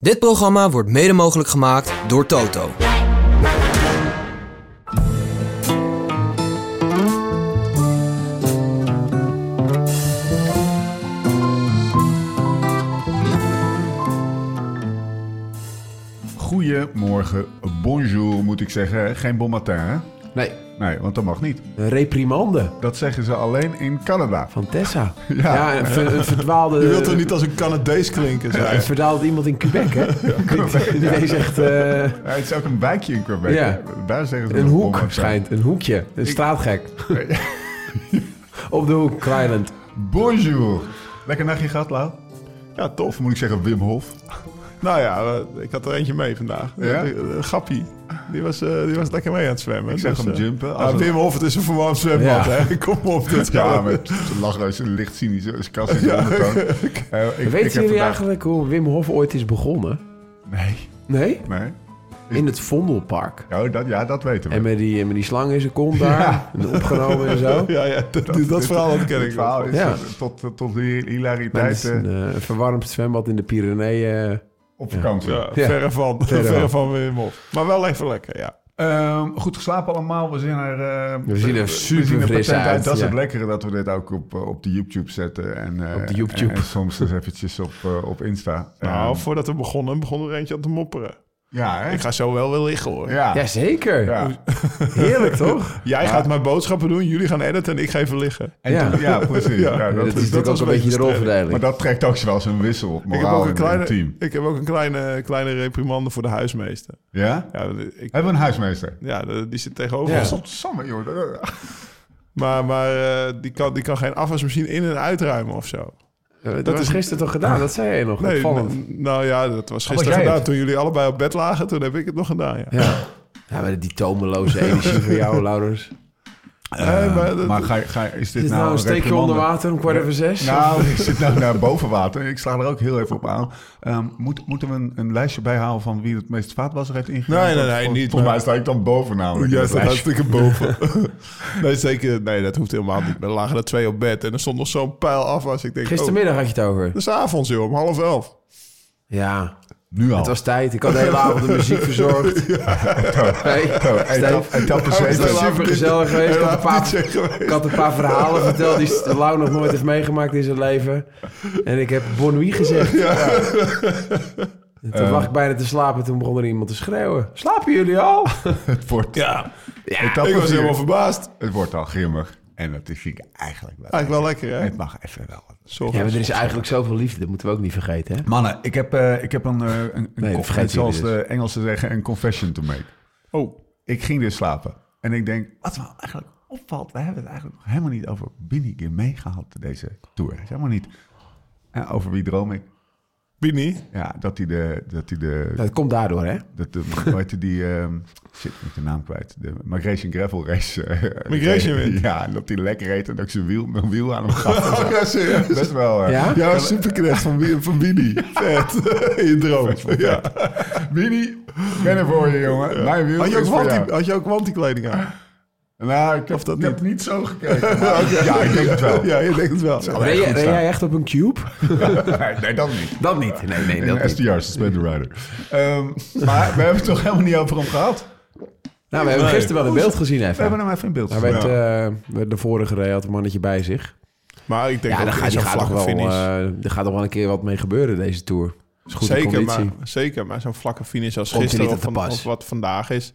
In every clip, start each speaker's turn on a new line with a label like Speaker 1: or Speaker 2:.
Speaker 1: Dit programma wordt mede mogelijk gemaakt door Toto.
Speaker 2: Goedemorgen, bonjour moet ik zeggen. Geen bon matin, hè?
Speaker 3: Nee,
Speaker 2: Nee, want dat mag niet.
Speaker 3: een reprimande
Speaker 2: Dat zeggen ze alleen in Canada.
Speaker 3: van Tessa.
Speaker 2: Ja.
Speaker 3: een, ver- een verdwaalde...
Speaker 4: Je wilt toch niet als een Canadees klinken? Zo.
Speaker 3: Een verdwaalde iemand in Quebec, hè? Die ineens echt eh,
Speaker 2: Ja, het is ook een wijkje in Quebec.
Speaker 3: Ja.
Speaker 2: Daar zeggen ze
Speaker 3: een
Speaker 2: nog bon
Speaker 3: hoek
Speaker 2: matin.
Speaker 3: schijnt. Een hoekje. Een straatgek. Op de hoek, Kwijland.
Speaker 2: Bonjour. Lekker nachtje gehad, Lau?
Speaker 4: Ja,
Speaker 2: Of
Speaker 4: tof.
Speaker 2: moet ik zeggen Wim Hof?
Speaker 4: Nou ja, eh, ik had er eentje mee vandaag.
Speaker 2: Ja?
Speaker 4: Eh, eh, Gappie. Die was, eh, die was lekker mee aan het zwemmen.
Speaker 2: Ik zag
Speaker 4: Dus,
Speaker 2: hem
Speaker 4: eh,
Speaker 2: jumpen.
Speaker 4: ah,
Speaker 2: Als een-
Speaker 4: Wim Hof, het is een verwarmd zwembad.
Speaker 3: Ja.
Speaker 4: Hè? Kom op. Dit
Speaker 2: Ja, met zijn lachneus en licht cynische kast in zijn
Speaker 4: Ja.
Speaker 2: ondertoon. Eh, ik- ik heb
Speaker 3: Weet jullie
Speaker 2: vandaag-
Speaker 3: eigenlijk hoe Wim Hof ooit is begonnen?
Speaker 2: Nee.
Speaker 3: Nee?
Speaker 2: Nee?
Speaker 3: In het Vondelpark.
Speaker 2: Ja, Oh, dat, ja, dat weten we.
Speaker 3: En met die, met die slang in zijn kont daar. En opgenomen en zo.
Speaker 4: ja, ja, dat, dat, verhaal dat ken
Speaker 2: Het
Speaker 4: ik
Speaker 2: verhaal
Speaker 4: wel.
Speaker 2: is
Speaker 3: Ja.
Speaker 2: tot, tot, tot de
Speaker 3: Maar het is
Speaker 2: hilariteit eh,
Speaker 3: een eh, verwarmd zwembad in de Pyreneeën.
Speaker 2: op vakantie.
Speaker 4: Ja,
Speaker 3: Ja.
Speaker 4: Verre van,
Speaker 3: Verre
Speaker 4: verre
Speaker 3: van.
Speaker 4: van Wim Hof. Maar wel even lekker, ja.
Speaker 2: Ehm, goed geslapen allemaal. We zien er, eh,
Speaker 3: We zien er
Speaker 2: we
Speaker 3: super
Speaker 2: zien
Speaker 3: fris
Speaker 2: patent
Speaker 3: uit,
Speaker 2: Dat is
Speaker 3: ja.
Speaker 2: het lekkere dat we dit ook op, eh, op de YouTube zetten. En, eh,
Speaker 3: Op de YouTube.
Speaker 2: En, en soms dus eventjes op, eh, op Insta.
Speaker 4: Nou,
Speaker 2: Ehm,
Speaker 4: voordat we begonnen, begon er eentje aan te mopperen.
Speaker 2: ja, hè?
Speaker 4: Ik ga zo wel weer liggen, hoor.
Speaker 2: Ja.
Speaker 3: Jazeker.
Speaker 2: Ja.
Speaker 3: Heerlijk, toch?
Speaker 4: Jij gaat mijn boodschappen doen, jullie gaan editen en ik ga even liggen.
Speaker 2: En
Speaker 3: Ja.
Speaker 2: toen- ja, precies. Ja,
Speaker 4: Ja,
Speaker 2: dat
Speaker 3: Dat,
Speaker 2: is-
Speaker 3: is natuurlijk ook
Speaker 4: was
Speaker 3: een
Speaker 4: een
Speaker 3: beetje de
Speaker 4: beetje sterk.
Speaker 3: rolverdeling.
Speaker 2: maar dat trekt ook wel zijn wissel op
Speaker 4: Ik heb, ook
Speaker 2: moraal
Speaker 4: een
Speaker 2: en- en
Speaker 4: kleine,
Speaker 2: team.
Speaker 4: ik heb ook een kleine, kleine reprimande voor de huismeester.
Speaker 2: Ja?
Speaker 4: Ja, ik,
Speaker 2: Hebben we een huismeester?
Speaker 4: ja de- die zit tegenover
Speaker 3: Ja.
Speaker 4: ons.
Speaker 2: Godsamme, joh.
Speaker 4: Maar, maar eh, die, kan, die kan geen afwasmachine in- en uitruimen of zo.
Speaker 3: Ja, Dat,
Speaker 4: Dat
Speaker 3: was
Speaker 4: is-
Speaker 3: gisteren toch gedaan? Dat zei je nog.
Speaker 4: Nee,
Speaker 3: Opvallend.
Speaker 4: n- nou ja, dat
Speaker 2: was
Speaker 4: was gisteren
Speaker 2: jij
Speaker 4: gedaan.
Speaker 2: het?
Speaker 4: Toen jullie allebei op bed lagen, toen heb ik het nog gedaan. Ja.
Speaker 3: Ja. ja, maar die tomeloze energie van jou, Laurens.
Speaker 4: Nee, maar dat-
Speaker 2: Eh, Maar ga, je- ga, je- is dit,
Speaker 3: Is dit nou een steekje onder
Speaker 2: reprimande?
Speaker 3: water om kwart over zes?
Speaker 2: Nou, ik zit nou naar boven water. Ik sla er ook heel even op aan. Ehm, moet, moeten we een, een lijstje bijhalen van wie het meest vaatwasser heeft ingegaan?
Speaker 4: Nee, nee, nee,
Speaker 2: Vol-
Speaker 4: niet,
Speaker 2: Volgens
Speaker 4: maar-
Speaker 2: mij sta ik dan boven namelijk.
Speaker 4: Jij
Speaker 2: Dat
Speaker 4: staat
Speaker 2: lijstje.
Speaker 4: hartstikke boven. nee, zeker. Nee, dat hoeft helemaal niet. Er lagen er twee op bed en er stond nog zo'n pijl afwas. Ik denk, oh,
Speaker 3: Gistermiddag had je het over.
Speaker 4: dat is avonds, joh, om half elf.
Speaker 3: Ja,
Speaker 2: Nu al.
Speaker 3: het was tijd. Ik had de hele avond de muziek verzorgd. Oh, Hey,
Speaker 2: Etap-
Speaker 3: Steve,
Speaker 2: etappe
Speaker 3: Het
Speaker 2: zeven.
Speaker 3: was super gezellig geweest. Ik had, een
Speaker 4: Laat niet
Speaker 3: paar,
Speaker 4: zeggen geweest.
Speaker 3: ik had een paar verhalen verteld die Lau nog nooit heeft meegemaakt in zijn leven. En ik heb bonui gezegd. En Toen lag ik bijna te slapen. Toen begon er iemand te schreeuwen. Slapen jullie al?
Speaker 2: Het wordt,
Speaker 4: Ja,
Speaker 2: etappe
Speaker 4: ik was
Speaker 2: vier.
Speaker 4: helemaal verbaasd.
Speaker 2: het wordt al grimmig. En dat is vind ik eigenlijk wel.
Speaker 4: Eigenlijk wel lekker, hè?
Speaker 2: Het mag even wel.
Speaker 4: Sorry.
Speaker 3: Ja, maar er is eigenlijk zoveel liefde. Dat moeten we ook niet vergeten, hè?
Speaker 2: Mannen, ik heb, eh, ik heb een, eh, een, een
Speaker 3: dat
Speaker 2: conf-
Speaker 3: vergeet
Speaker 2: zoals
Speaker 3: jullie
Speaker 2: de Engelsen zeggen, een confession to make.
Speaker 4: Oh,
Speaker 2: Ik ging dus slapen. En ik denk, wat me eigenlijk opvalt, we hebben het eigenlijk nog helemaal niet over Binny Gim meegehaald deze tour. Het is Helemaal niet. En over wie droom ik?
Speaker 4: Bini.
Speaker 2: Ja, dat hij de, dat hij de,
Speaker 3: Dat komt daardoor, hè?
Speaker 2: dat de, hoe heette die, ehm shit, ik ben de naam kwijt. De Migration Gravel Race. eh,
Speaker 4: Migration
Speaker 2: reed.
Speaker 4: wint.
Speaker 2: Ja, en dat hij lekker reed en dat ik zijn wiel, mijn wiel aan hem gaf.
Speaker 4: Oh, ja, serieus.
Speaker 2: Best wel. eh,
Speaker 3: Ja?
Speaker 4: Ja, superknecht van, Wi- van Winnie. Vet. In je droom. Ja.
Speaker 2: Winnie, ik ben er voor je, jongen. Mijn wiel
Speaker 4: Had, je ook
Speaker 2: is voor jou.
Speaker 4: wanti, had je ook wantikleding aan?
Speaker 2: Nou, ik heb,
Speaker 4: dat
Speaker 2: ik heb
Speaker 4: niet? Oh,
Speaker 2: niet zo gekeken. maar- Ja, ik denk het wel.
Speaker 4: Ja, je denkt het wel.
Speaker 3: Reed jij-
Speaker 2: goed
Speaker 3: reed
Speaker 2: staan.
Speaker 3: jij echt op een cube?
Speaker 2: Nee, dat niet.
Speaker 3: Dat niet. Nee, nee,
Speaker 2: Een STR, Suspended Rider. Ehm, maar we hebben het toch helemaal niet over hem gehad?
Speaker 3: Nou, we hebben gisteren wel een beeld gezien
Speaker 2: We
Speaker 3: even.
Speaker 2: hebben hem even in beeld
Speaker 3: Daar
Speaker 2: gezet.
Speaker 3: werd, eh, werd de vorige rij had een mannetje bij zich.
Speaker 4: Maar ik denk
Speaker 3: Ja,
Speaker 4: ook
Speaker 3: daar
Speaker 4: in
Speaker 3: gaat, die
Speaker 4: zo'n
Speaker 3: gaat, nog
Speaker 4: vlakke
Speaker 3: wel,
Speaker 4: finish.
Speaker 3: eh, er gaat nog wel een keer wat mee gebeuren deze Tour. Is goed in
Speaker 4: zeker, maar,
Speaker 3: conditie.
Speaker 4: zeker, maar zo'n vlakke finish
Speaker 3: Komt
Speaker 4: als
Speaker 3: hij
Speaker 4: gisteren
Speaker 3: niet
Speaker 4: of,
Speaker 3: aan te
Speaker 4: van-
Speaker 3: pas.
Speaker 4: of wat vandaag is...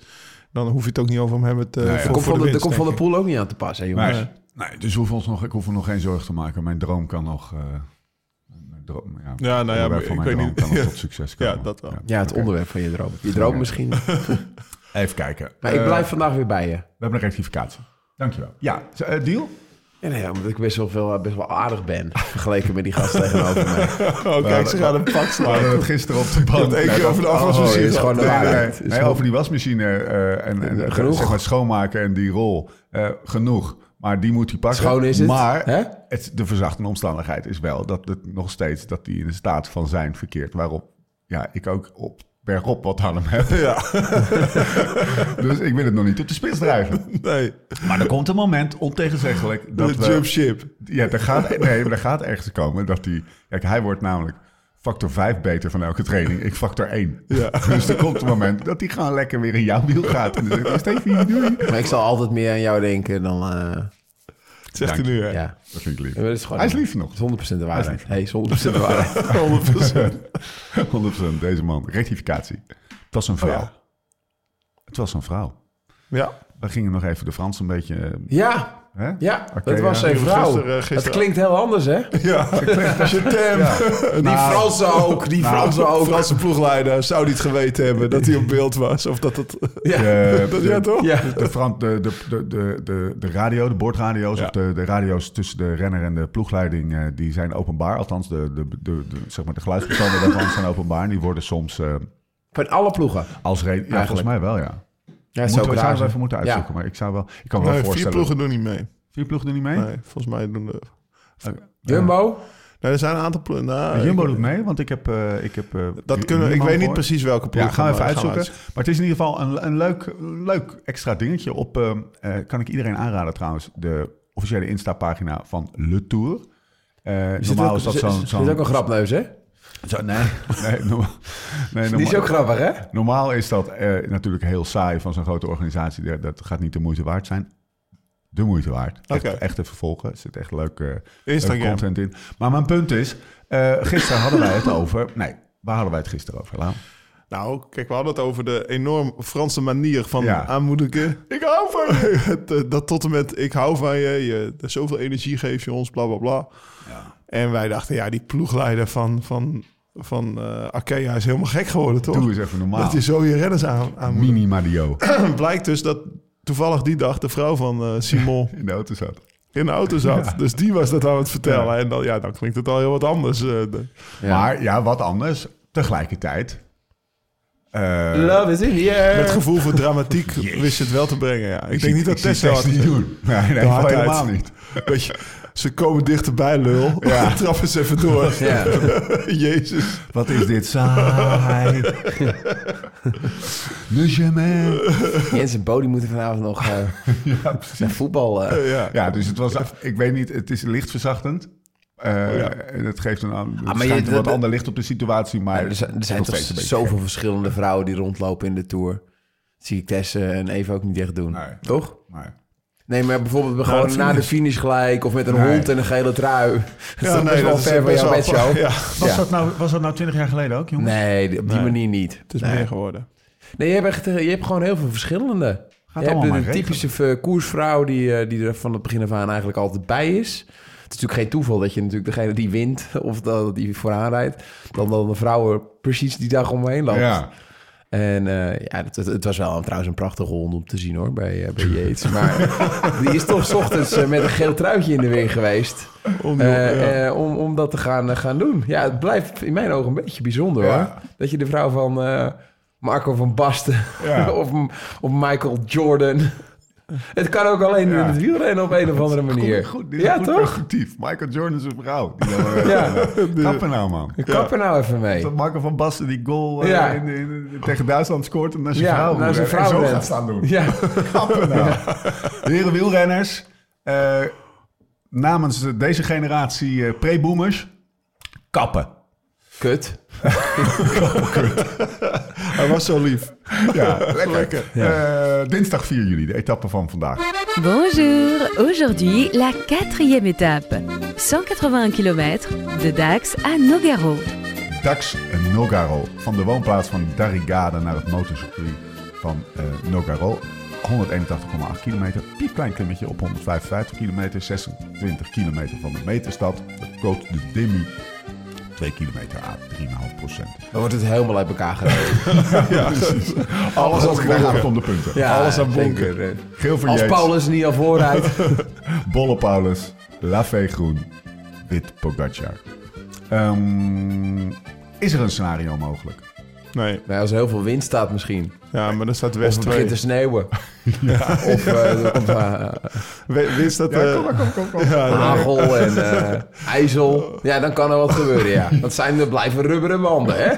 Speaker 4: dan hoef je het ook niet over hem hebben te...
Speaker 2: ja.
Speaker 4: voor-
Speaker 3: Er komt
Speaker 4: voor
Speaker 3: van
Speaker 4: de
Speaker 3: de, er
Speaker 4: winst,
Speaker 3: komt van de
Speaker 4: denk ik.
Speaker 3: pool ook niet aan te passen, hè, jongens.
Speaker 2: Nee, nee, dus hoef ons nog, ik hoef me nog geen zorgen te maken. Mijn droom kan nog... eh, mijn droom, ja,
Speaker 4: Ja, nou ja,
Speaker 2: onderwerp
Speaker 4: maar
Speaker 2: van
Speaker 4: ik
Speaker 2: mijn
Speaker 4: weet
Speaker 2: droom
Speaker 4: niet.
Speaker 2: kan nog
Speaker 4: Ja.
Speaker 2: tot succes komen.
Speaker 4: Ja, dat wel.
Speaker 3: Ja, het onderwerp van je droom. Je droom misschien.
Speaker 2: Even kijken.
Speaker 3: Maar ik
Speaker 2: Eh,
Speaker 3: blijf vandaag weer bij je.
Speaker 2: We hebben een rectificatie. Dankjewel. Ja, z- eh, deal?
Speaker 3: Ja, nee, omdat ik best wel, veel, eh, best wel aardig ben. Vergeleken met die gast tegenover mij.
Speaker 4: Oh, kijk, ze gaan een pak
Speaker 2: We
Speaker 4: slaan.
Speaker 2: hadden het Eh, gisteren op de bank.
Speaker 4: één keer over de afwasmachine
Speaker 2: oh,
Speaker 3: is gewoon de
Speaker 2: nee, nee,
Speaker 3: waarheid.
Speaker 2: nee.
Speaker 3: Is
Speaker 2: Nee,
Speaker 3: gewoon-
Speaker 2: over die wasmachine eh, en, en eh,
Speaker 3: Genoeg.
Speaker 2: zeg maar schoonmaken en die rol. eh, genoeg. Maar die moet hij pakken.
Speaker 3: Schoon is het.
Speaker 2: Maar
Speaker 3: Hè?
Speaker 2: het, de verzachtende omstandigheid is wel dat het nog steeds dat die in de staat van zijn verkeert. Waarop ja, ik ook op bergop wat aan hem heb.
Speaker 4: Ja,
Speaker 2: Dus ik wil het nog niet op de spits drijven.
Speaker 4: nee.
Speaker 2: Maar er komt een moment, ontegenzeggelijk, dat
Speaker 4: De
Speaker 2: we...
Speaker 4: jump ship.
Speaker 2: Ja, er gaat, nee, maar er gaat ergens komen dat hij... Kijk, hij wordt namelijk factor 5 beter van elke training. Ik factor 1. Dus er komt een moment dat die gewoon lekker weer in jouw wiel gaat. En dan zegt hij, Stefie, doei.
Speaker 3: Maar ik zal altijd meer aan jou denken dan... eh,
Speaker 4: Dat zegt
Speaker 2: Dank
Speaker 4: hij nu, hè?
Speaker 3: ja,
Speaker 2: Dat vind ik lief.
Speaker 5: Ja, maar dat is gewoon-
Speaker 2: Hij is lief nog.
Speaker 3: dat is 100% de waarheid. Hey, is 100% de waarheid.
Speaker 2: 100% deze man. Rectificatie. Het was een vrouw.
Speaker 4: Oh,
Speaker 2: Het was een vrouw.
Speaker 4: Ja.
Speaker 2: We gingen nog even de Frans een beetje... eh,
Speaker 5: Ja,
Speaker 2: Hè?
Speaker 5: ja
Speaker 2: Oké,
Speaker 5: dat was
Speaker 2: ja.
Speaker 5: een
Speaker 4: Die
Speaker 5: vrouw.
Speaker 4: gisteren, eh, gisteren-
Speaker 5: Dat klinkt heel anders, hè?
Speaker 4: Die Fransen ook, die
Speaker 3: Nou.
Speaker 4: Fransen ook. Franse ploegleider zou niet geweten hebben dat hij op beeld was. Of dat het...
Speaker 2: De,
Speaker 4: Dat- ja, toch?
Speaker 5: Ja.
Speaker 2: De, Fran- de, de, de, de, de, de radio, de boordradio's,
Speaker 4: Ja.
Speaker 2: of de, de radio's tussen de renner en de ploegleiding, eh, die zijn openbaar. Althans, de, de, de, de- zeg maar de geluidsbestanden daarvan zijn openbaar. En die worden soms eh,
Speaker 3: Van alle ploegen.
Speaker 2: als reden... Ja,
Speaker 3: Eigenlijk.
Speaker 2: volgens mij wel, ja. Moeten
Speaker 3: Ja, zo
Speaker 2: we, zouden we
Speaker 3: bedragen.
Speaker 2: even moeten uitzoeken, maar ik zou wel... Ik kan me wel
Speaker 4: Nee, vier
Speaker 2: voorstellen...
Speaker 4: ploegen doen niet mee.
Speaker 2: Vier ploegen doen niet mee?
Speaker 4: Nee, volgens mij doen de...
Speaker 5: Jumbo.
Speaker 4: Nee, er zijn een aantal ploegen. Nou,
Speaker 2: De Jumbo
Speaker 4: ik-
Speaker 2: doet mee, want ik heb... eh, ik heb eh,
Speaker 4: Dat kunnen, ik
Speaker 2: Newman
Speaker 4: weet niet
Speaker 2: voor.
Speaker 4: precies welke ploeg.
Speaker 2: Ja, gaan we even
Speaker 4: maar-
Speaker 2: uitzoeken. Maar het is in ieder geval een, een leuk, leuk extra dingetje op... eh, eh, kan ik iedereen aanraden trouwens, de officiële Insta-pagina van Le Tour. Eh,
Speaker 5: Zit
Speaker 2: normaal
Speaker 5: ook-
Speaker 2: is dat
Speaker 5: zit-
Speaker 2: zo'n...
Speaker 5: zit ook
Speaker 2: zo'n-
Speaker 5: een grapneus, hè?
Speaker 2: zo- nee, nee, norma- nee
Speaker 5: Die is
Speaker 2: norma-
Speaker 5: ook grappig, hè?
Speaker 2: normaal is dat eh, natuurlijk heel saai van zo'n grote organisatie. Dat- Dat gaat niet de moeite waard zijn. De moeite waard. Echt,
Speaker 4: Oké.
Speaker 2: echt even volgen. Er zit echt leuk, eh, leuk
Speaker 4: Instagram.
Speaker 2: content in. Maar mijn punt is, eh, gisteren hadden wij het over... Nee, waar hadden wij het gisteren over? Lau?
Speaker 4: Nou, kijk, we hadden het over de enorm Franse manier van
Speaker 2: Ja.
Speaker 4: aanmoedigen. Ik hou van je. Het, eh, dat tot en met ik hou van je, je zoveel energie geef je ons, bla bla bla. En wij dachten, ja, die ploegleider van, van, van eh, Arkea is helemaal gek geworden, toch?
Speaker 2: Doe eens even normaal.
Speaker 4: Dat je zo je renners aan, aanmoedigt.
Speaker 2: Mini Mario
Speaker 4: Blijkt dus dat toevallig die dag de vrouw van eh, Simon
Speaker 2: in de auto zat.
Speaker 4: in de auto zat. Dus die was dat aan het vertellen. En dan, ja, dan klinkt het al heel wat anders. eh, de-
Speaker 2: Maar ja, wat anders. Tegelijkertijd. eh,
Speaker 5: Love is in the air.
Speaker 4: met gevoel voor dramatiek wist je het wel te brengen, ja. Ik, denk niet dat
Speaker 2: zie
Speaker 4: Tessa...
Speaker 2: Tess
Speaker 4: had-
Speaker 2: niet doen. Nee, nee
Speaker 4: hardheid.
Speaker 2: helemaal niet.
Speaker 4: Weet je, ze komen dichterbij, lul. Ja. Trap eens even door.
Speaker 3: Ja.
Speaker 4: Jezus.
Speaker 2: Wat is dit saai? Ne jamais.
Speaker 3: Jens en Bodie moeten vanavond nog eh, naar voetbal. eh.
Speaker 4: Ja.
Speaker 2: Ja, dus het was. Ik weet niet. Het is licht verzachtend. Eh, En het geeft een, aan- het
Speaker 3: Ah, maar je-
Speaker 2: schijnt een
Speaker 3: dat-
Speaker 2: wat ander licht op de situatie, maar
Speaker 3: er zijn, er zijn
Speaker 2: nog
Speaker 3: toch
Speaker 2: steeds een beetje
Speaker 3: zoveel verschillende vrouwen die rondlopen in de Tour. Dat zie ik Tess eh, en Eva ook niet echt doen.
Speaker 2: Nee.
Speaker 3: Toch?
Speaker 2: gek. Maar-
Speaker 3: Nee, maar bijvoorbeeld we gewoon
Speaker 4: de
Speaker 3: na de finish gelijk... of met een
Speaker 2: Nee.
Speaker 3: hond en een gele trui. Dat is
Speaker 4: Ja,
Speaker 3: toch best wel
Speaker 4: dat is
Speaker 3: ver van
Speaker 4: best
Speaker 3: jouw
Speaker 4: wel-
Speaker 3: bedshow.
Speaker 4: Ja,
Speaker 2: Was,
Speaker 3: Ja.
Speaker 2: dat nou, was dat nou 20 jaar geleden ook, jongens?
Speaker 3: Nee, op die
Speaker 4: Nee.
Speaker 3: manier niet.
Speaker 4: het is
Speaker 3: nee.
Speaker 4: meer geworden.
Speaker 3: Nee, je hebt, echt, eh, je hebt gewoon heel veel verschillende. je
Speaker 2: allemaal
Speaker 3: hebt
Speaker 2: maar
Speaker 3: een
Speaker 2: regelen.
Speaker 3: typische eh, koersvrouw die, eh, die er van het begin af aan eigenlijk altijd bij is. Het is natuurlijk geen toeval dat je natuurlijk degene die wint of dat die vooraan rijdt, dan dan de vrouwen precies die dag omheen loopt.
Speaker 2: Ja.
Speaker 3: En eh, ja, het, het- het was wel een- trouwens een prachtige hond om te zien hoor, bij, eh, bij Yates. Maar die is toch 's ochtends eh, met een geel truitje in de weer geweest
Speaker 2: Oh,
Speaker 4: Om,
Speaker 3: eh,
Speaker 4: ja.
Speaker 3: eh, om, om dat te gaan, eh, gaan doen. Ja, het blijft in mijn ogen een beetje bijzonder
Speaker 2: Ja.
Speaker 3: hoor. Dat je de vrouw van eh, Marco van Basten
Speaker 2: Ja.
Speaker 3: of, of Michael Jordan... Het kan ook alleen
Speaker 2: Ja.
Speaker 3: in het wielrennen op een of andere
Speaker 2: Goed,
Speaker 3: manier.
Speaker 2: goed, dit is
Speaker 3: ja,
Speaker 2: een goed
Speaker 3: toch?
Speaker 2: perspectief. Michael Jordan is een vrouw. Die dan,
Speaker 3: Ja.
Speaker 2: ja. Kappen nou, man.
Speaker 3: Kap er nou even mee.
Speaker 2: Dat Marco van Basten die goal eh,
Speaker 3: Ja.
Speaker 2: in, in- tegen Duitsland scoort en naar zijn
Speaker 3: Ja,
Speaker 2: vrouw,
Speaker 3: naar zijn
Speaker 2: rent.
Speaker 3: vrouw
Speaker 2: en zo
Speaker 3: rent.
Speaker 2: gaat staan doen.
Speaker 3: Ja,
Speaker 2: Kappen nou. Heren wielrenners, eh, namens deze generatie eh, pre-boomers, kappen.
Speaker 3: kut.
Speaker 4: Hij was zo lief.
Speaker 2: Ja, lekker. Eh, dinsdag 4 juli, de etappe van vandaag.
Speaker 6: Bonjour, aujourd'hui la quatrième étape, 181 km de Dax à Nogaro.
Speaker 2: Dax Nogaro, van de woonplaats van Darigade naar het motorcircuit van eh, Nogaro. 181,8 kilometer, piepklein klimmetje op 155 kilometer, 26 kilometer van de meterstad. Het Côte de Demi, 2 kilometer aan, 3,5 procent.
Speaker 3: Dan wordt het helemaal uit elkaar gereden.
Speaker 2: Alles
Speaker 3: had
Speaker 2: wat gedaan gaat om de punten.
Speaker 3: Ja,
Speaker 2: Alles aan bonken.
Speaker 3: zeker.
Speaker 2: Geel voor
Speaker 3: Als
Speaker 2: Jeets,
Speaker 3: Paulus niet al voorrijdt.
Speaker 2: Bolle Paulus, Lafay Groen, Wit Pogacar. Ehm, is er een scenario mogelijk?
Speaker 4: Nee,
Speaker 3: Nou, als er heel veel wind staat misschien.
Speaker 4: ja, maar dan staat
Speaker 3: Of
Speaker 4: West
Speaker 3: het begint
Speaker 4: 2.
Speaker 3: te sneeuwen. Of eh, er komt eh,
Speaker 4: We- Wist dat... eh,
Speaker 3: hagel en eh, ijzel.
Speaker 4: Oh.
Speaker 3: Ja, dan kan er wat gebeuren, ja. Dat zijn er blijven rubberen banden, hè?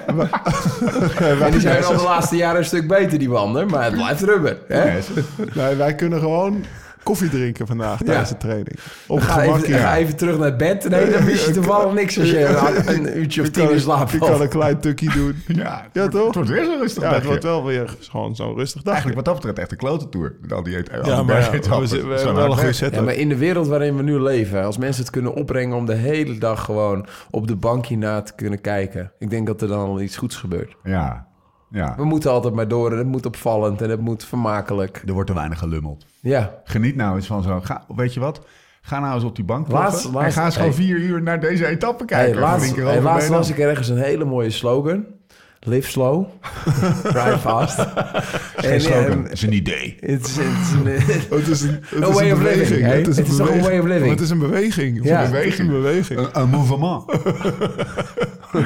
Speaker 3: En die zijn al de laatste jaren een stuk beter, die banden. Maar het blijft rubber, hè?
Speaker 2: Nee, is-
Speaker 4: nee, wij kunnen gewoon koffie drinken vandaag tijdens de training. Op
Speaker 3: Ga
Speaker 4: gemak
Speaker 3: even, ga even terug naar bed. Nee, dan mis je toevallig niks als je een uurtje of
Speaker 4: Je kan
Speaker 3: tien in
Speaker 4: een-
Speaker 3: slaap
Speaker 4: Je
Speaker 3: valt.
Speaker 4: kan een klein tukkie doen.
Speaker 2: Ja,
Speaker 4: Ja, toch?
Speaker 2: Het wordt weer zo'n rustig
Speaker 4: Ja, het
Speaker 2: dagje.
Speaker 4: wordt wel weer gewoon zo'n rustig dagje.
Speaker 2: Eigenlijk wat dat betreft echt een klote tour. Met al die eet, al
Speaker 4: Ja,
Speaker 2: die
Speaker 4: maar ja,
Speaker 2: bergetappes.
Speaker 4: we, zitten- we
Speaker 2: Zo
Speaker 4: hebben
Speaker 2: hard
Speaker 4: wel een goede
Speaker 2: werken.
Speaker 4: set.
Speaker 3: Ja, maar in de wereld waarin we nu leven, als mensen het kunnen opbrengen om de hele dag gewoon op de bank hierna te kunnen kijken, ik denk dat er dan al iets goeds gebeurt.
Speaker 2: Ja, ja.
Speaker 3: We moeten altijd maar door en het moet opvallend en het moet vermakelijk.
Speaker 2: Er wordt te weinig gelummeld.
Speaker 3: Ja,
Speaker 2: Geniet nou eens van zo. Ga, weet je wat? Ga nou eens op die bank
Speaker 3: Laatst-
Speaker 2: ploffen en
Speaker 3: laatst-
Speaker 2: ga eens gewoon
Speaker 3: hey.
Speaker 2: vier uur naar deze etappe kijken.
Speaker 3: hey, laatst,
Speaker 2: Flink
Speaker 3: hey,
Speaker 2: eroverheen
Speaker 3: laatst
Speaker 2: dan.
Speaker 3: las ik ergens een hele mooie slogan. Live slow, drive fast.
Speaker 2: Geen slogan,
Speaker 3: en- ehm,
Speaker 2: is een idee.
Speaker 3: Het is, het is een-
Speaker 4: Het is een, het
Speaker 3: A
Speaker 4: is
Speaker 3: way
Speaker 4: een
Speaker 3: of living,
Speaker 4: beweging.
Speaker 3: hè?
Speaker 4: het is,
Speaker 3: Het is toch een
Speaker 4: beweging.
Speaker 3: way of living?
Speaker 4: Maar Het is een beweging. Of
Speaker 3: Ja.
Speaker 4: een beweging. Het is een beweging.
Speaker 2: Een, een mouvement.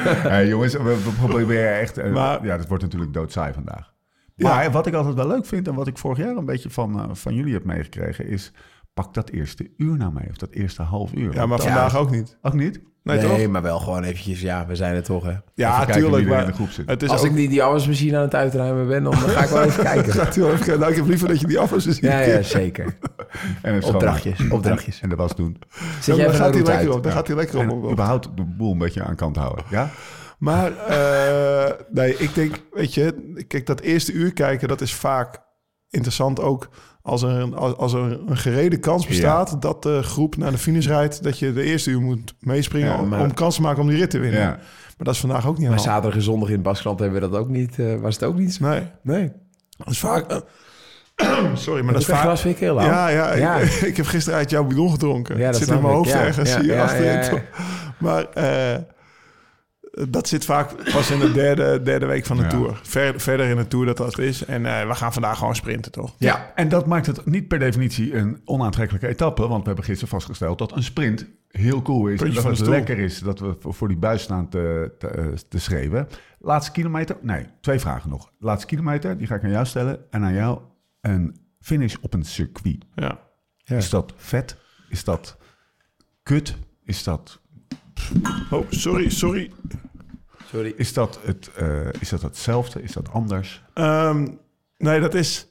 Speaker 2: hey, jongens, we, we proberen echt... eh,
Speaker 4: Maar-
Speaker 2: ja, dat wordt natuurlijk doodsaai vandaag. Maar wat ik altijd wel leuk vind en wat ik vorig jaar een beetje van, eh, van jullie heb meegekregen... is pak dat eerste uur nou mee, of dat eerste half uur.
Speaker 4: Ja, maar
Speaker 2: Want dat-
Speaker 4: vandaag ook niet.
Speaker 2: Ook niet?
Speaker 4: Nee,
Speaker 3: nee,
Speaker 4: toch?
Speaker 3: maar wel gewoon eventjes, ja, we zijn er toch, hè.
Speaker 4: Ja,
Speaker 2: kijken wie
Speaker 4: tuurlijk.
Speaker 2: er in de
Speaker 4: Maar
Speaker 2: groep zit.
Speaker 4: het is
Speaker 3: Als
Speaker 4: ook
Speaker 3: ik niet die afwasmachine aan het uitruimen ben, dan ga ik wel even kijken.
Speaker 4: Tuurlijk, nou, ik heb liever dat je die af is.
Speaker 3: Ja, ja, zeker.
Speaker 2: En even
Speaker 3: Opdrachtjes,
Speaker 2: schoonmaken.
Speaker 3: opdrachtjes.
Speaker 2: En, en de was doen.
Speaker 3: Zet jij
Speaker 4: daar
Speaker 3: even
Speaker 4: gaat
Speaker 3: een
Speaker 4: hij
Speaker 3: route
Speaker 4: lekker
Speaker 3: uit.
Speaker 4: op. Daar gaat hij lekker
Speaker 2: En
Speaker 4: op, op.
Speaker 2: überhaupt de boel een beetje aan kant houden. Ja?
Speaker 4: Maar eh, nee, ik denk, weet je, kijk, dat eerste uur kijken, dat is vaak interessant ook als er een, als, als er een gereden kans bestaat dat de groep naar de finish rijdt, dat je de eerste uur moet meespringen
Speaker 2: Ja,
Speaker 4: om-
Speaker 2: maar-
Speaker 4: om kans te maken om die rit te winnen.
Speaker 2: Ja.
Speaker 4: Maar dat is vandaag ook niet
Speaker 3: Maar
Speaker 4: aan.
Speaker 3: zaterdag en zondag in het Baskeland hebben we dat ook niet, eh, was het ook niet zo.
Speaker 4: Oh. Nee,
Speaker 3: Nee.
Speaker 4: dat is vaak. sorry, maar
Speaker 3: Dat
Speaker 4: dat
Speaker 3: is
Speaker 4: is vaak.
Speaker 3: glas vind ik heel lang.
Speaker 4: Ja, ja,
Speaker 3: Ja.
Speaker 4: Ik, ik heb gisteren uit jouw bidon gedronken.
Speaker 3: Ja,
Speaker 4: het
Speaker 3: dat
Speaker 4: zit in
Speaker 3: snap
Speaker 4: mijn
Speaker 3: ik.
Speaker 4: hoofd
Speaker 3: Ja,
Speaker 4: ergens
Speaker 3: ja,
Speaker 4: hier
Speaker 3: ja,
Speaker 4: achterin.
Speaker 3: ja, ja.
Speaker 4: Maar eh, dat zit vaak pas in de derde, derde week van de
Speaker 2: Ja.
Speaker 4: Tour. Ver- verder in de Tour dat dat is. En eh, we gaan vandaag gewoon sprinten, toch?
Speaker 3: Ja.
Speaker 2: En dat maakt het niet per definitie een onaantrekkelijke etappe. Want we hebben gisteren vastgesteld dat een sprint heel cool is.
Speaker 4: Puntje
Speaker 2: En dat
Speaker 4: van de
Speaker 2: het
Speaker 4: stoel.
Speaker 2: lekker is dat we voor voor die buis staan te, te, eh, te schreeuwen. Laatste kilometer? Nee, twee vragen nog. Laatste kilometer, die ga ik aan jou stellen. En aan jou een finish op een circuit.
Speaker 4: Ja.
Speaker 2: Is dat vet? Is dat kut? Is dat,
Speaker 4: Oh, sorry, sorry.
Speaker 3: Sorry.
Speaker 2: is dat, het, eh, is dat hetzelfde? Is dat anders?
Speaker 4: Ehm, nee, dat is...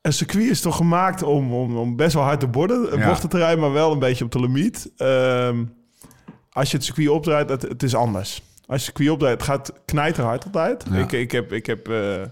Speaker 4: Een circuit is toch gemaakt om, om, om best wel hard te borden, eh,
Speaker 2: Ja.
Speaker 4: bochten te rijden, maar wel een beetje op de limiet. Ehm, als je het circuit opdraait, het, het is anders. Als je het circuit opdraait, het gaat knijterhard altijd.
Speaker 2: Ja.
Speaker 4: Ik, ik heb... Ik heb eh,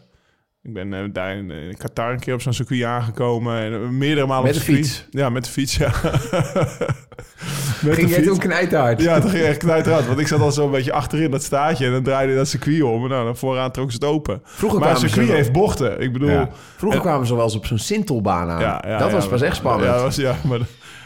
Speaker 4: ik ben eh, daar in, in Qatar een keer op zo'n circuit aangekomen. En eh, meerdere malen
Speaker 3: Met
Speaker 4: op
Speaker 3: de
Speaker 4: circuit.
Speaker 3: fiets?
Speaker 4: Ja, met de fiets, ja. met
Speaker 3: Ging
Speaker 4: de
Speaker 3: jij
Speaker 4: fiets.
Speaker 3: toen knijterhard?
Speaker 4: Ja, toen ging echt knijterhard. Want ik zat al zo'n beetje achterin dat staartje. En dan draaide dat circuit om. En nou, dan vooraan trok ze het open.
Speaker 3: Vroeger
Speaker 4: maar een
Speaker 3: kwamen ze
Speaker 4: circuit
Speaker 3: wel-
Speaker 4: heeft bochten. Ik bedoel...
Speaker 2: Ja.
Speaker 4: Ja.
Speaker 3: Vroeger kwamen ze wel eens op zo'n sintelbaan aan.
Speaker 4: Ja, ja,
Speaker 3: dat was
Speaker 4: ja.
Speaker 3: pas echt spannend.
Speaker 4: Ja, dat was, ja maar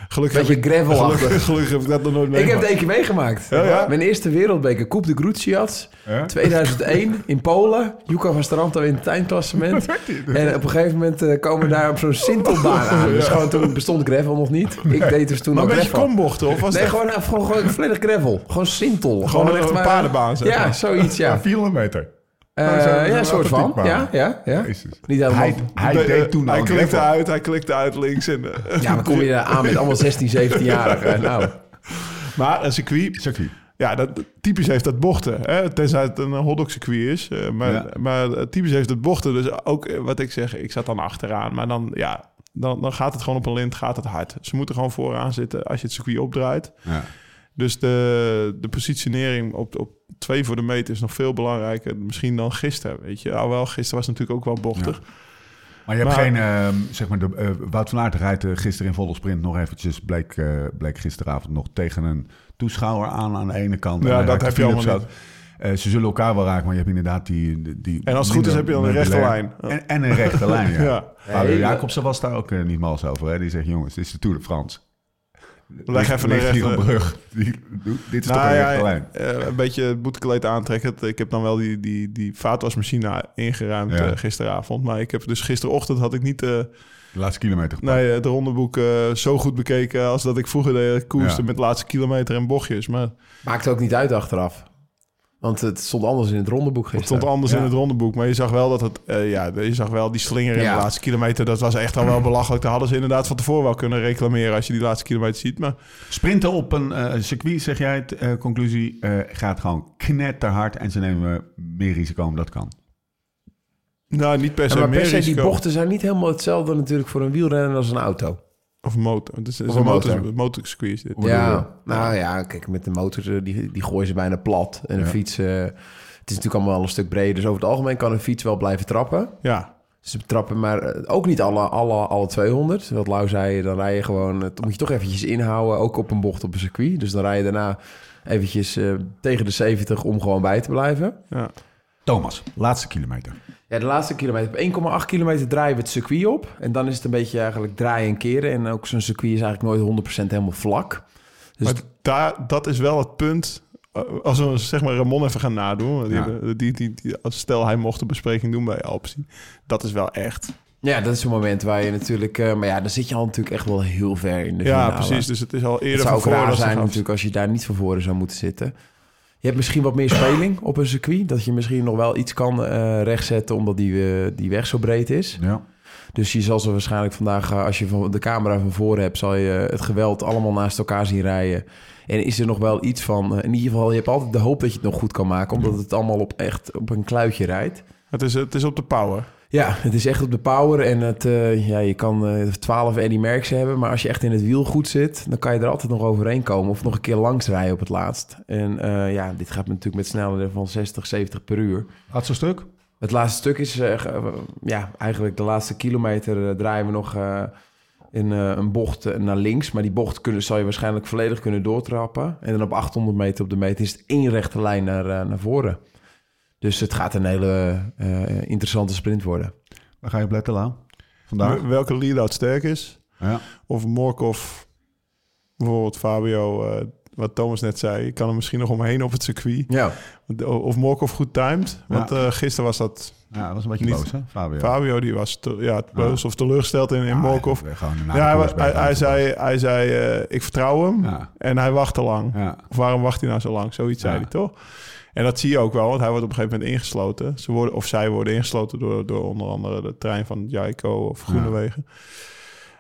Speaker 4: gelukkig
Speaker 3: Beetje
Speaker 4: heb, ik,
Speaker 3: gravelachtig.
Speaker 4: gelukkig, gelukkig heb ik dat nog nooit
Speaker 3: ik heb het
Speaker 4: meegemaakt.
Speaker 3: één keer meegemaakt.
Speaker 4: Ja, ja.
Speaker 3: Mijn eerste wereldbeker, Coupe de Gruziats.
Speaker 2: Hè?
Speaker 3: 2001 in Polen. Juka van Stranto in het eindklassement. En op een gegeven moment eh, komen we daar op zo'n sintelbaan aan. Dus gewoon toen bestond gravel nog niet. Ik deed dus toen
Speaker 4: Maar
Speaker 3: al
Speaker 4: een beetje
Speaker 3: gravel.
Speaker 4: kombochten, of was
Speaker 3: Nee,
Speaker 4: het echt-
Speaker 3: gewoon, eh, gewoon, gewoon volledig gravel. Gewoon sintel. Gewoon,
Speaker 4: een-
Speaker 3: echt
Speaker 4: een
Speaker 3: maar-
Speaker 4: paardenbaan, zeg
Speaker 3: Ja,
Speaker 4: maar.
Speaker 3: zoiets, ja.
Speaker 2: Vier kilometer.
Speaker 3: Eh,
Speaker 2: Nou, zo'n-
Speaker 3: ja,
Speaker 2: zo'n
Speaker 3: een soort van.
Speaker 2: atletiekbaan.
Speaker 3: Ja, ja, ja.
Speaker 2: Jezus.
Speaker 3: Niet helemaal.
Speaker 2: Hij, hij
Speaker 4: Nee,
Speaker 2: deed
Speaker 4: eh,
Speaker 2: toen
Speaker 4: Hij
Speaker 2: aan
Speaker 4: klikte
Speaker 2: gravel.
Speaker 4: uit, hij klikte uit links. En, eh,
Speaker 3: ja, maar kom je daar aan met allemaal 16, 17-jarigen? Nou,
Speaker 4: maar een circuit...
Speaker 2: Circuit.
Speaker 4: Ja, dat, typisch heeft dat bochten. Hè? Tenzij het een hotdog circuit is. eh, maar,
Speaker 2: Ja.
Speaker 4: maar eh, typisch heeft het bochten. Dus ook eh, wat ik zeg, ik zat dan achteraan. Maar dan, ja, dan, dan gaat het gewoon op een lint, gaat het hard. Ze moeten gewoon vooraan zitten als je het circuit opdraait.
Speaker 2: Ja.
Speaker 4: Dus de, de positionering op, op twee voor de meter is nog veel belangrijker misschien dan gisteren. Weet je, alhoewel gisteren was het natuurlijk ook wel bochtig.
Speaker 2: Maar je hebt
Speaker 4: Maar-
Speaker 2: geen, ehm, zeg maar, de, eh, Wout van Aert rijdt eh, gisteren in volle sprint nog eventjes, bleek, eh, bleek gisteravond nog tegen een toeschouwer aan aan de ene kant.
Speaker 4: Ja,
Speaker 2: En hij
Speaker 4: dat
Speaker 2: raakte
Speaker 4: heb je
Speaker 2: Philips
Speaker 4: allemaal
Speaker 2: uit. Eh, ze zullen elkaar wel raken, maar je hebt inderdaad die... die
Speaker 4: En als het goed is heb je dan een rechte lijn.
Speaker 2: En, en een rechte lijn, ja.
Speaker 4: Ja.
Speaker 2: Fabio
Speaker 3: Hele-
Speaker 2: Jacobsen was daar ook eh, niet mals over. Hè? Die zegt, jongens, dit is de Tour de France.
Speaker 4: Leg even een
Speaker 2: Ligt hier
Speaker 4: rechte...
Speaker 2: op brug. Die- dit is toch
Speaker 4: Nou
Speaker 2: een
Speaker 4: ja,
Speaker 2: rechte lijn.
Speaker 4: eh, een beetje het boetekleed aantrekken. Ik heb dan wel die, die, die vaatwasmachine ingeruimd
Speaker 2: Ja.
Speaker 4: eh, gisteravond. Maar ik heb dus gisterochtend had ik niet eh,
Speaker 2: De laatste kilometer. gepakt.
Speaker 4: nee, het rondeboek eh, zo goed bekeken als dat ik vroeger deed. Koersen
Speaker 2: Ja.
Speaker 4: met laatste kilometer en bochtjes. Maar het
Speaker 3: maakt ook niet uit achteraf. Want het stond anders in het rondeboek gisteren.
Speaker 4: stond anders
Speaker 2: Ja.
Speaker 4: in het rondeboek. Maar je zag wel dat het, eh, ja, je zag wel die slinger in
Speaker 3: Ja.
Speaker 4: de laatste kilometer. Dat was echt al wel belachelijk. Daar hadden ze inderdaad van tevoren wel kunnen reclameren als je die laatste kilometer ziet. Maar
Speaker 2: Sprinten op een eh, circuit, zeg jij het. eh, conclusie eh, gaat gewoon knetterhard en ze nemen meer risico omdat dat kan.
Speaker 4: Nou, niet per se
Speaker 3: maar
Speaker 4: meer
Speaker 3: per se, die
Speaker 4: risico.
Speaker 3: bochten zijn niet helemaal hetzelfde natuurlijk voor een wielrenner als een auto.
Speaker 4: Of motor. Het is, het is
Speaker 3: Of
Speaker 4: een
Speaker 3: een
Speaker 4: motor,
Speaker 3: motor.
Speaker 4: motorcircuit is dit.
Speaker 3: Ja, nou ja, kijk, met de motors, eh, die, die gooien ze bijna plat. En een fiets, eh, het is natuurlijk allemaal wel een stuk breder. Dus over het algemeen kan een fiets wel blijven trappen.
Speaker 4: Ja.
Speaker 3: Ze trappen maar eh, ook niet alle, alle, alle 200. Wat Lau zei, dan rij je gewoon... eh, Dan moet je toch eventjes inhouden, ook op een bocht op een circuit. Dus dan rij je daarna eventjes eh, tegen de 70 om gewoon bij te blijven.
Speaker 4: ja.
Speaker 2: Thomas, laatste kilometer.
Speaker 3: Ja, de laatste kilometer. Op 1,8 kilometer draaien we het circuit op. En dan is het een beetje eigenlijk draaien en keren. En ook zo'n circuit is eigenlijk nooit 100% helemaal vlak. Dus
Speaker 4: maar daar, dat is wel het punt. eh, Als we zeg maar Ramon even gaan nadoen. want Die,
Speaker 2: Ja.
Speaker 4: hebben- die, die, die, als stel hij mocht een bespreking doen bij Alpsi. Dat is wel echt.
Speaker 3: ja, dat is een moment waar je natuurlijk... eh, maar ja, dan zit je al natuurlijk echt wel heel ver in de
Speaker 4: ja,
Speaker 3: finale.
Speaker 4: precies. Dus het is al
Speaker 3: Het
Speaker 4: eerder
Speaker 3: zou
Speaker 4: van
Speaker 3: ook
Speaker 4: voor
Speaker 3: raar
Speaker 4: dat ze
Speaker 3: zijn
Speaker 4: gaan-
Speaker 3: natuurlijk als je daar niet van voren zou moeten zitten. Je hebt misschien wat meer speling op een circuit. Dat je misschien nog wel iets kan eh, rechtzetten omdat die, eh, die weg zo breed is.
Speaker 2: Ja.
Speaker 3: Dus je zal ze waarschijnlijk vandaag, eh, als je van de camera van voren hebt, zal je het geweld allemaal naast elkaar zien rijden. En is er nog wel iets van, eh, in ieder geval, je hebt altijd de hoop dat je het nog goed kan maken, omdat het allemaal op echt op een kluitje rijdt.
Speaker 4: Het is, het is op de power.
Speaker 3: Ja, het is echt op de power en het, eh, ja, je kan eh 12 Eddy Merckx hebben, maar als je echt in het wiel goed zit, dan kan je er altijd nog overheen komen of nog een keer langs rijden op het laatst. En eh, ja, dit gaat natuurlijk met snelheden van 60, 70 per uur.
Speaker 2: Laatste stuk?
Speaker 3: Het laatste stuk is, eh, ge- eh, ja, eigenlijk de laatste kilometer eh, draaien we nog eh, in eh, een bocht eh, naar links. Maar die bocht kunnen, zal je waarschijnlijk volledig kunnen doortrappen. En dan op 800 meter op de meter is het één rechte lijn naar, eh, naar voren. Dus het gaat een hele eh, interessante sprint worden.
Speaker 2: Waar ga je op letten, Laan? Vandaag?
Speaker 4: Welke lead-out sterk is.
Speaker 2: Ja.
Speaker 4: Of Morkov, bijvoorbeeld Fabio, eh, wat Thomas net zei. Je kan er misschien nog omheen op het circuit. eh,
Speaker 3: Ja,
Speaker 4: Of Morkov goed timed. Want eh, gisteren was dat...
Speaker 2: ja, dat was een beetje
Speaker 4: Niet-
Speaker 2: boos, hè, Fabio?
Speaker 4: Fabio die was te- ja, boos of teleurgesteld in, in Morkov.
Speaker 2: Ja, Nou, gewoon na de
Speaker 4: Ja, hij,
Speaker 2: koers bij
Speaker 4: hij, hij
Speaker 2: de-
Speaker 4: zei, hij zei eh, ik vertrouw hem
Speaker 2: Ja.
Speaker 4: en hij wacht te lang.
Speaker 2: Ja.
Speaker 4: Of waarom wacht hij nou zo lang? Zoiets zei
Speaker 2: Ja.
Speaker 4: hij toch? En dat zie je ook wel, want hij wordt op een gegeven moment ingesloten. Ze worden, of zij worden ingesloten door, door onder andere de trein van Jaiko of Groenewegen.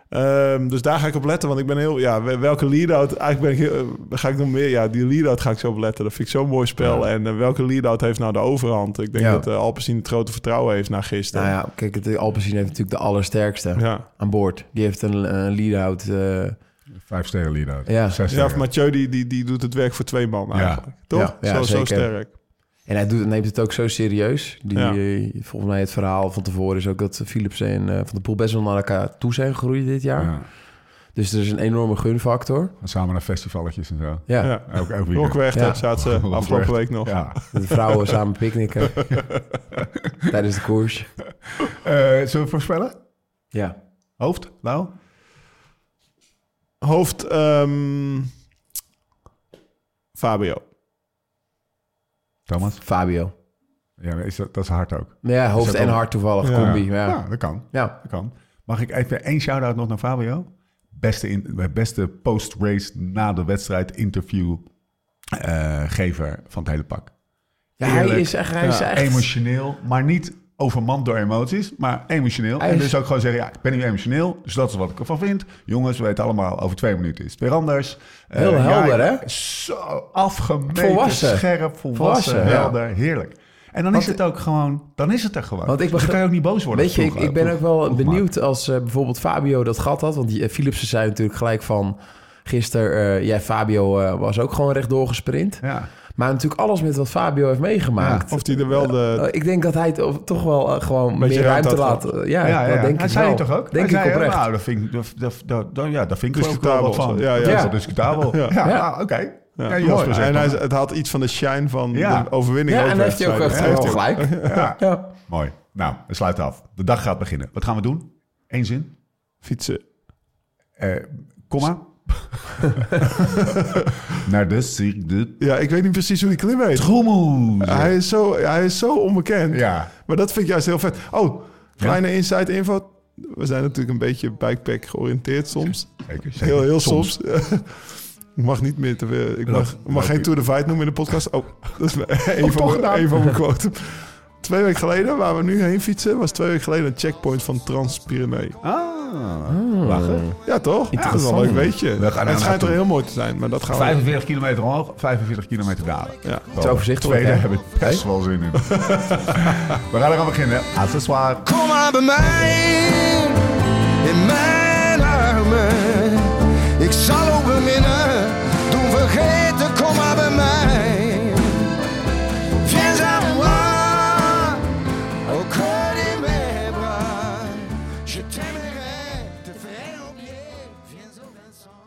Speaker 4: Ehm, dus daar ga ik op letten, want ik ben heel... Ja, we- welke lead-out... Eigenlijk ben ik heel, eh, ga ik nog meer... Ja, die lead-out ga ik zo op letten. Dat vind ik zo'n mooi spel. En eh, welke lead-out heeft nou de overhand? Ik denk
Speaker 3: Ja.
Speaker 4: dat eh Alpecin het grote vertrouwen heeft na gisteren.
Speaker 3: nou ja, kijk, het Alpecin heeft natuurlijk de allersterkste
Speaker 4: ja.
Speaker 3: aan boord. Die heeft een, een lead-out. eh,
Speaker 2: Vijf sterren lead-out.
Speaker 3: Ja.
Speaker 2: Zes
Speaker 4: Ja,
Speaker 2: sterren.
Speaker 4: of Mathieu die, die, die doet het werk voor twee man eigenlijk. Toch?
Speaker 3: Ja, ja,
Speaker 4: zo, zo
Speaker 3: zeker.
Speaker 4: sterk.
Speaker 3: En hij doet, neemt het ook zo serieus. Die,
Speaker 4: Ja.
Speaker 3: eh, volgens mij het verhaal van tevoren is ook dat Philips en eh, Van der Poel best wel naar elkaar toe zijn gegroeid dit jaar.
Speaker 2: Ja.
Speaker 3: Dus er is een enorme gunfactor.
Speaker 2: Samen naar festivalletjes en zo.
Speaker 3: Ja,
Speaker 4: Ja.
Speaker 2: Ook, ook weer.
Speaker 4: Rockwerchter
Speaker 3: Ja.
Speaker 4: zaten ze
Speaker 2: Rockwerchter.
Speaker 4: afgelopen week nog.
Speaker 2: Ja.
Speaker 3: de vrouwen samen picknicken tijdens de koers.
Speaker 2: Eh, zullen we voorspellen?
Speaker 3: Ja.
Speaker 2: Hoofd, nou?
Speaker 4: Hoofd ehm, Fabio.
Speaker 2: Thomas?
Speaker 3: Fabio.
Speaker 2: Ja, maar is dat, dat is hard ook.
Speaker 3: Ja, hoofd
Speaker 2: Is dat
Speaker 3: en
Speaker 2: wel-
Speaker 3: hart toevallig,
Speaker 4: Ja.
Speaker 3: combi. Ja.
Speaker 2: Ja,
Speaker 3: Ja.
Speaker 2: dat kan. Dat kan. Mag ik even één shout-out nog naar Fabio? Beste, in, beste post-race na de wedstrijd interview eh, gever van het hele pak.
Speaker 3: Ja, hij
Speaker 2: Eerlijk.
Speaker 3: is echt... Hij is
Speaker 2: Ja,
Speaker 3: echt
Speaker 2: Emotioneel, maar niet overmand door emoties, maar emotioneel.
Speaker 3: Hij
Speaker 2: En
Speaker 3: is-
Speaker 2: dus ook gewoon zeggen, ja, ik ben nu emotioneel, dus dat is wat ik ervan vind. Jongens, we weten allemaal, over twee minuten is het weer anders. Eh,
Speaker 3: Heel
Speaker 2: ja,
Speaker 3: helder, hè?
Speaker 2: Zo afgemeten,
Speaker 3: Volwassen.
Speaker 2: scherp, volwassen,
Speaker 3: Volwassen, ja.
Speaker 2: helder, heerlijk. En dan is
Speaker 3: Want-
Speaker 2: het ook gewoon, dan is het er gewoon.
Speaker 3: Want
Speaker 2: dus
Speaker 3: ik
Speaker 2: dan
Speaker 3: begrijp-
Speaker 2: kan je ook niet boos worden.
Speaker 3: Weet je, ik,
Speaker 2: Vroeg-
Speaker 3: ik ben
Speaker 2: vroeg-
Speaker 3: ook wel
Speaker 2: vroeg maar.
Speaker 3: benieuwd als eh, bijvoorbeeld Fabio dat gat had. Want die, eh, Philipsen zei natuurlijk gelijk van... Gisteren, eh, jij Fabio eh, was ook gewoon rechtdoor gesprint.
Speaker 2: Ja.
Speaker 3: Maar natuurlijk alles met wat Fabio heeft meegemaakt.
Speaker 4: Of die er wel
Speaker 3: Eh,
Speaker 4: de...
Speaker 3: ik denk dat hij het of- toch wel eh, gewoon
Speaker 4: Beetje
Speaker 3: meer
Speaker 4: ruimte
Speaker 3: ruimte
Speaker 4: had
Speaker 3: laat. eh, Ja,
Speaker 2: Ja, ja,
Speaker 3: dat
Speaker 2: ja.
Speaker 3: denk
Speaker 2: hij
Speaker 3: ik
Speaker 2: zei
Speaker 3: wel.
Speaker 2: het toch ook?
Speaker 3: Denk
Speaker 2: Hij
Speaker 3: ik
Speaker 2: zei,
Speaker 3: oprecht.
Speaker 2: Nou, dat vind ik, dat, dat, dat, dat- ja, dat vind ik dus geloof ik wel
Speaker 4: Discutabel.
Speaker 2: wat van.
Speaker 4: Ja, ja.
Speaker 2: Dat is
Speaker 3: Ja.
Speaker 2: wel discutabel. Ja,
Speaker 3: Ja.
Speaker 2: ah, oké.
Speaker 4: Ja,
Speaker 2: Ja, Jasper
Speaker 4: mooi.
Speaker 2: zegt
Speaker 4: En
Speaker 2: dan-
Speaker 4: hij, het had iets van de shine van
Speaker 2: Ja.
Speaker 4: de overwinning.
Speaker 3: ja, en
Speaker 4: over
Speaker 3: daar heeft hij ook
Speaker 4: het
Speaker 3: echt
Speaker 4: zijde.
Speaker 3: wel
Speaker 4: Heeft hij ook.
Speaker 3: gelijk.
Speaker 2: Ja.
Speaker 3: Ja.
Speaker 2: Mooi. Nou, we sluiten af. De dag gaat beginnen. Wat gaan we doen? Eén zin.
Speaker 4: Fietsen.
Speaker 2: Eh, komma. Naar de Cirque de
Speaker 4: Ja, ik weet niet precies hoe die klim heet.
Speaker 2: Trommel.
Speaker 4: Hij is zo, hij is zo onbekend.
Speaker 2: Ja.
Speaker 4: Maar dat vind ik juist heel vet. Oh, kleine inside info. We zijn natuurlijk een beetje bikepack georiënteerd soms.
Speaker 2: Zeker, zeker.
Speaker 4: Heel, heel soms. ik mag niet meer te veel. Ik mag, ik mag geen Tour de Fight noemen in de podcast. Oh, dat is een, van,
Speaker 2: toch
Speaker 4: mijn,
Speaker 2: gedaan.
Speaker 4: een van mijn quotes. Twee weken geleden, waar we nu heen fietsen, was twee weken geleden een checkpoint van Transpyrenee.
Speaker 2: Ah, Lachen.
Speaker 4: Ja, toch? Ja, dat is wel een leuk weetje.
Speaker 2: We gaan er
Speaker 4: het schijnt
Speaker 2: naartoe.
Speaker 4: er heel mooi te zijn, maar dat gaan we...
Speaker 2: 45 kilometer omhoog, 45 kilometer dalen.
Speaker 4: Ja.
Speaker 2: Het
Speaker 3: is overzichtelijk,
Speaker 2: Tweede
Speaker 3: hè?
Speaker 2: hebben we best wel zin in. we gaan eraan beginnen. Accessoire.
Speaker 7: Kom maar bij mij in mijn armen. Ik zal ook beminnen, doen vergeten, kom maar bij mij. Viens à moi, au creux de mes bras. Je t'aimerai, te faire oublier, viens au Vincent.